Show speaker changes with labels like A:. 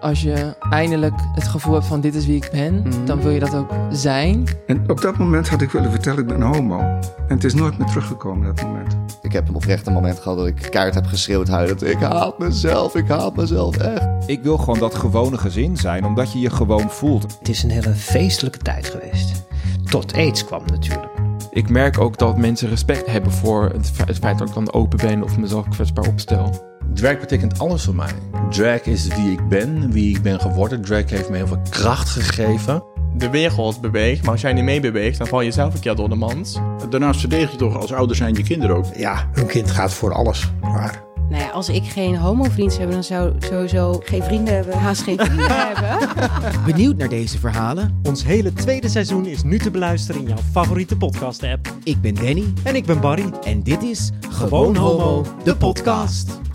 A: als je eindelijk het gevoel hebt van dit is wie ik ben, dan wil je dat ook zijn.
B: En op dat moment had ik willen vertellen, ik ben homo. En het is nooit meer teruggekomen, dat moment.
C: Ik heb een oprecht een moment gehad dat ik kaart heb geschreeuwd huilend. Ik haat mezelf, ik haat mezelf echt.
D: Ik wil gewoon dat gewone gezin zijn, omdat je je gewoon voelt.
E: Het is een hele feestelijke tijd geweest. Tot aids kwam natuurlijk.
F: Ik merk ook dat mensen respect hebben voor het fe- het feit dat ik dan open ben of mezelf kwetsbaar opstel.
G: Drag betekent alles voor mij. Drag is wie ik ben, wie ik ben geworden. Drag heeft me heel veel kracht gegeven.
H: de wereld beweegt. Maar als jij niet mee beweegt, dan val je zelf een keer door de mand.
I: Daarnaast verdedig je toch als ouder zijn je kinderen ook.
E: Ja, hun kind gaat voor alles. Maar
J: Nou ja, als ik geen homovriend zou hebben, dan zou ik sowieso geen vrienden hebben. Haast geen vrienden hebben.
K: Benieuwd naar deze verhalen?
L: Ons hele tweede seizoen is nu te beluisteren in jouw favoriete podcast-app.
K: Ik ben Danny
L: En ik ben Barry.
K: en dit is
L: Gewoon Homo, de podcast.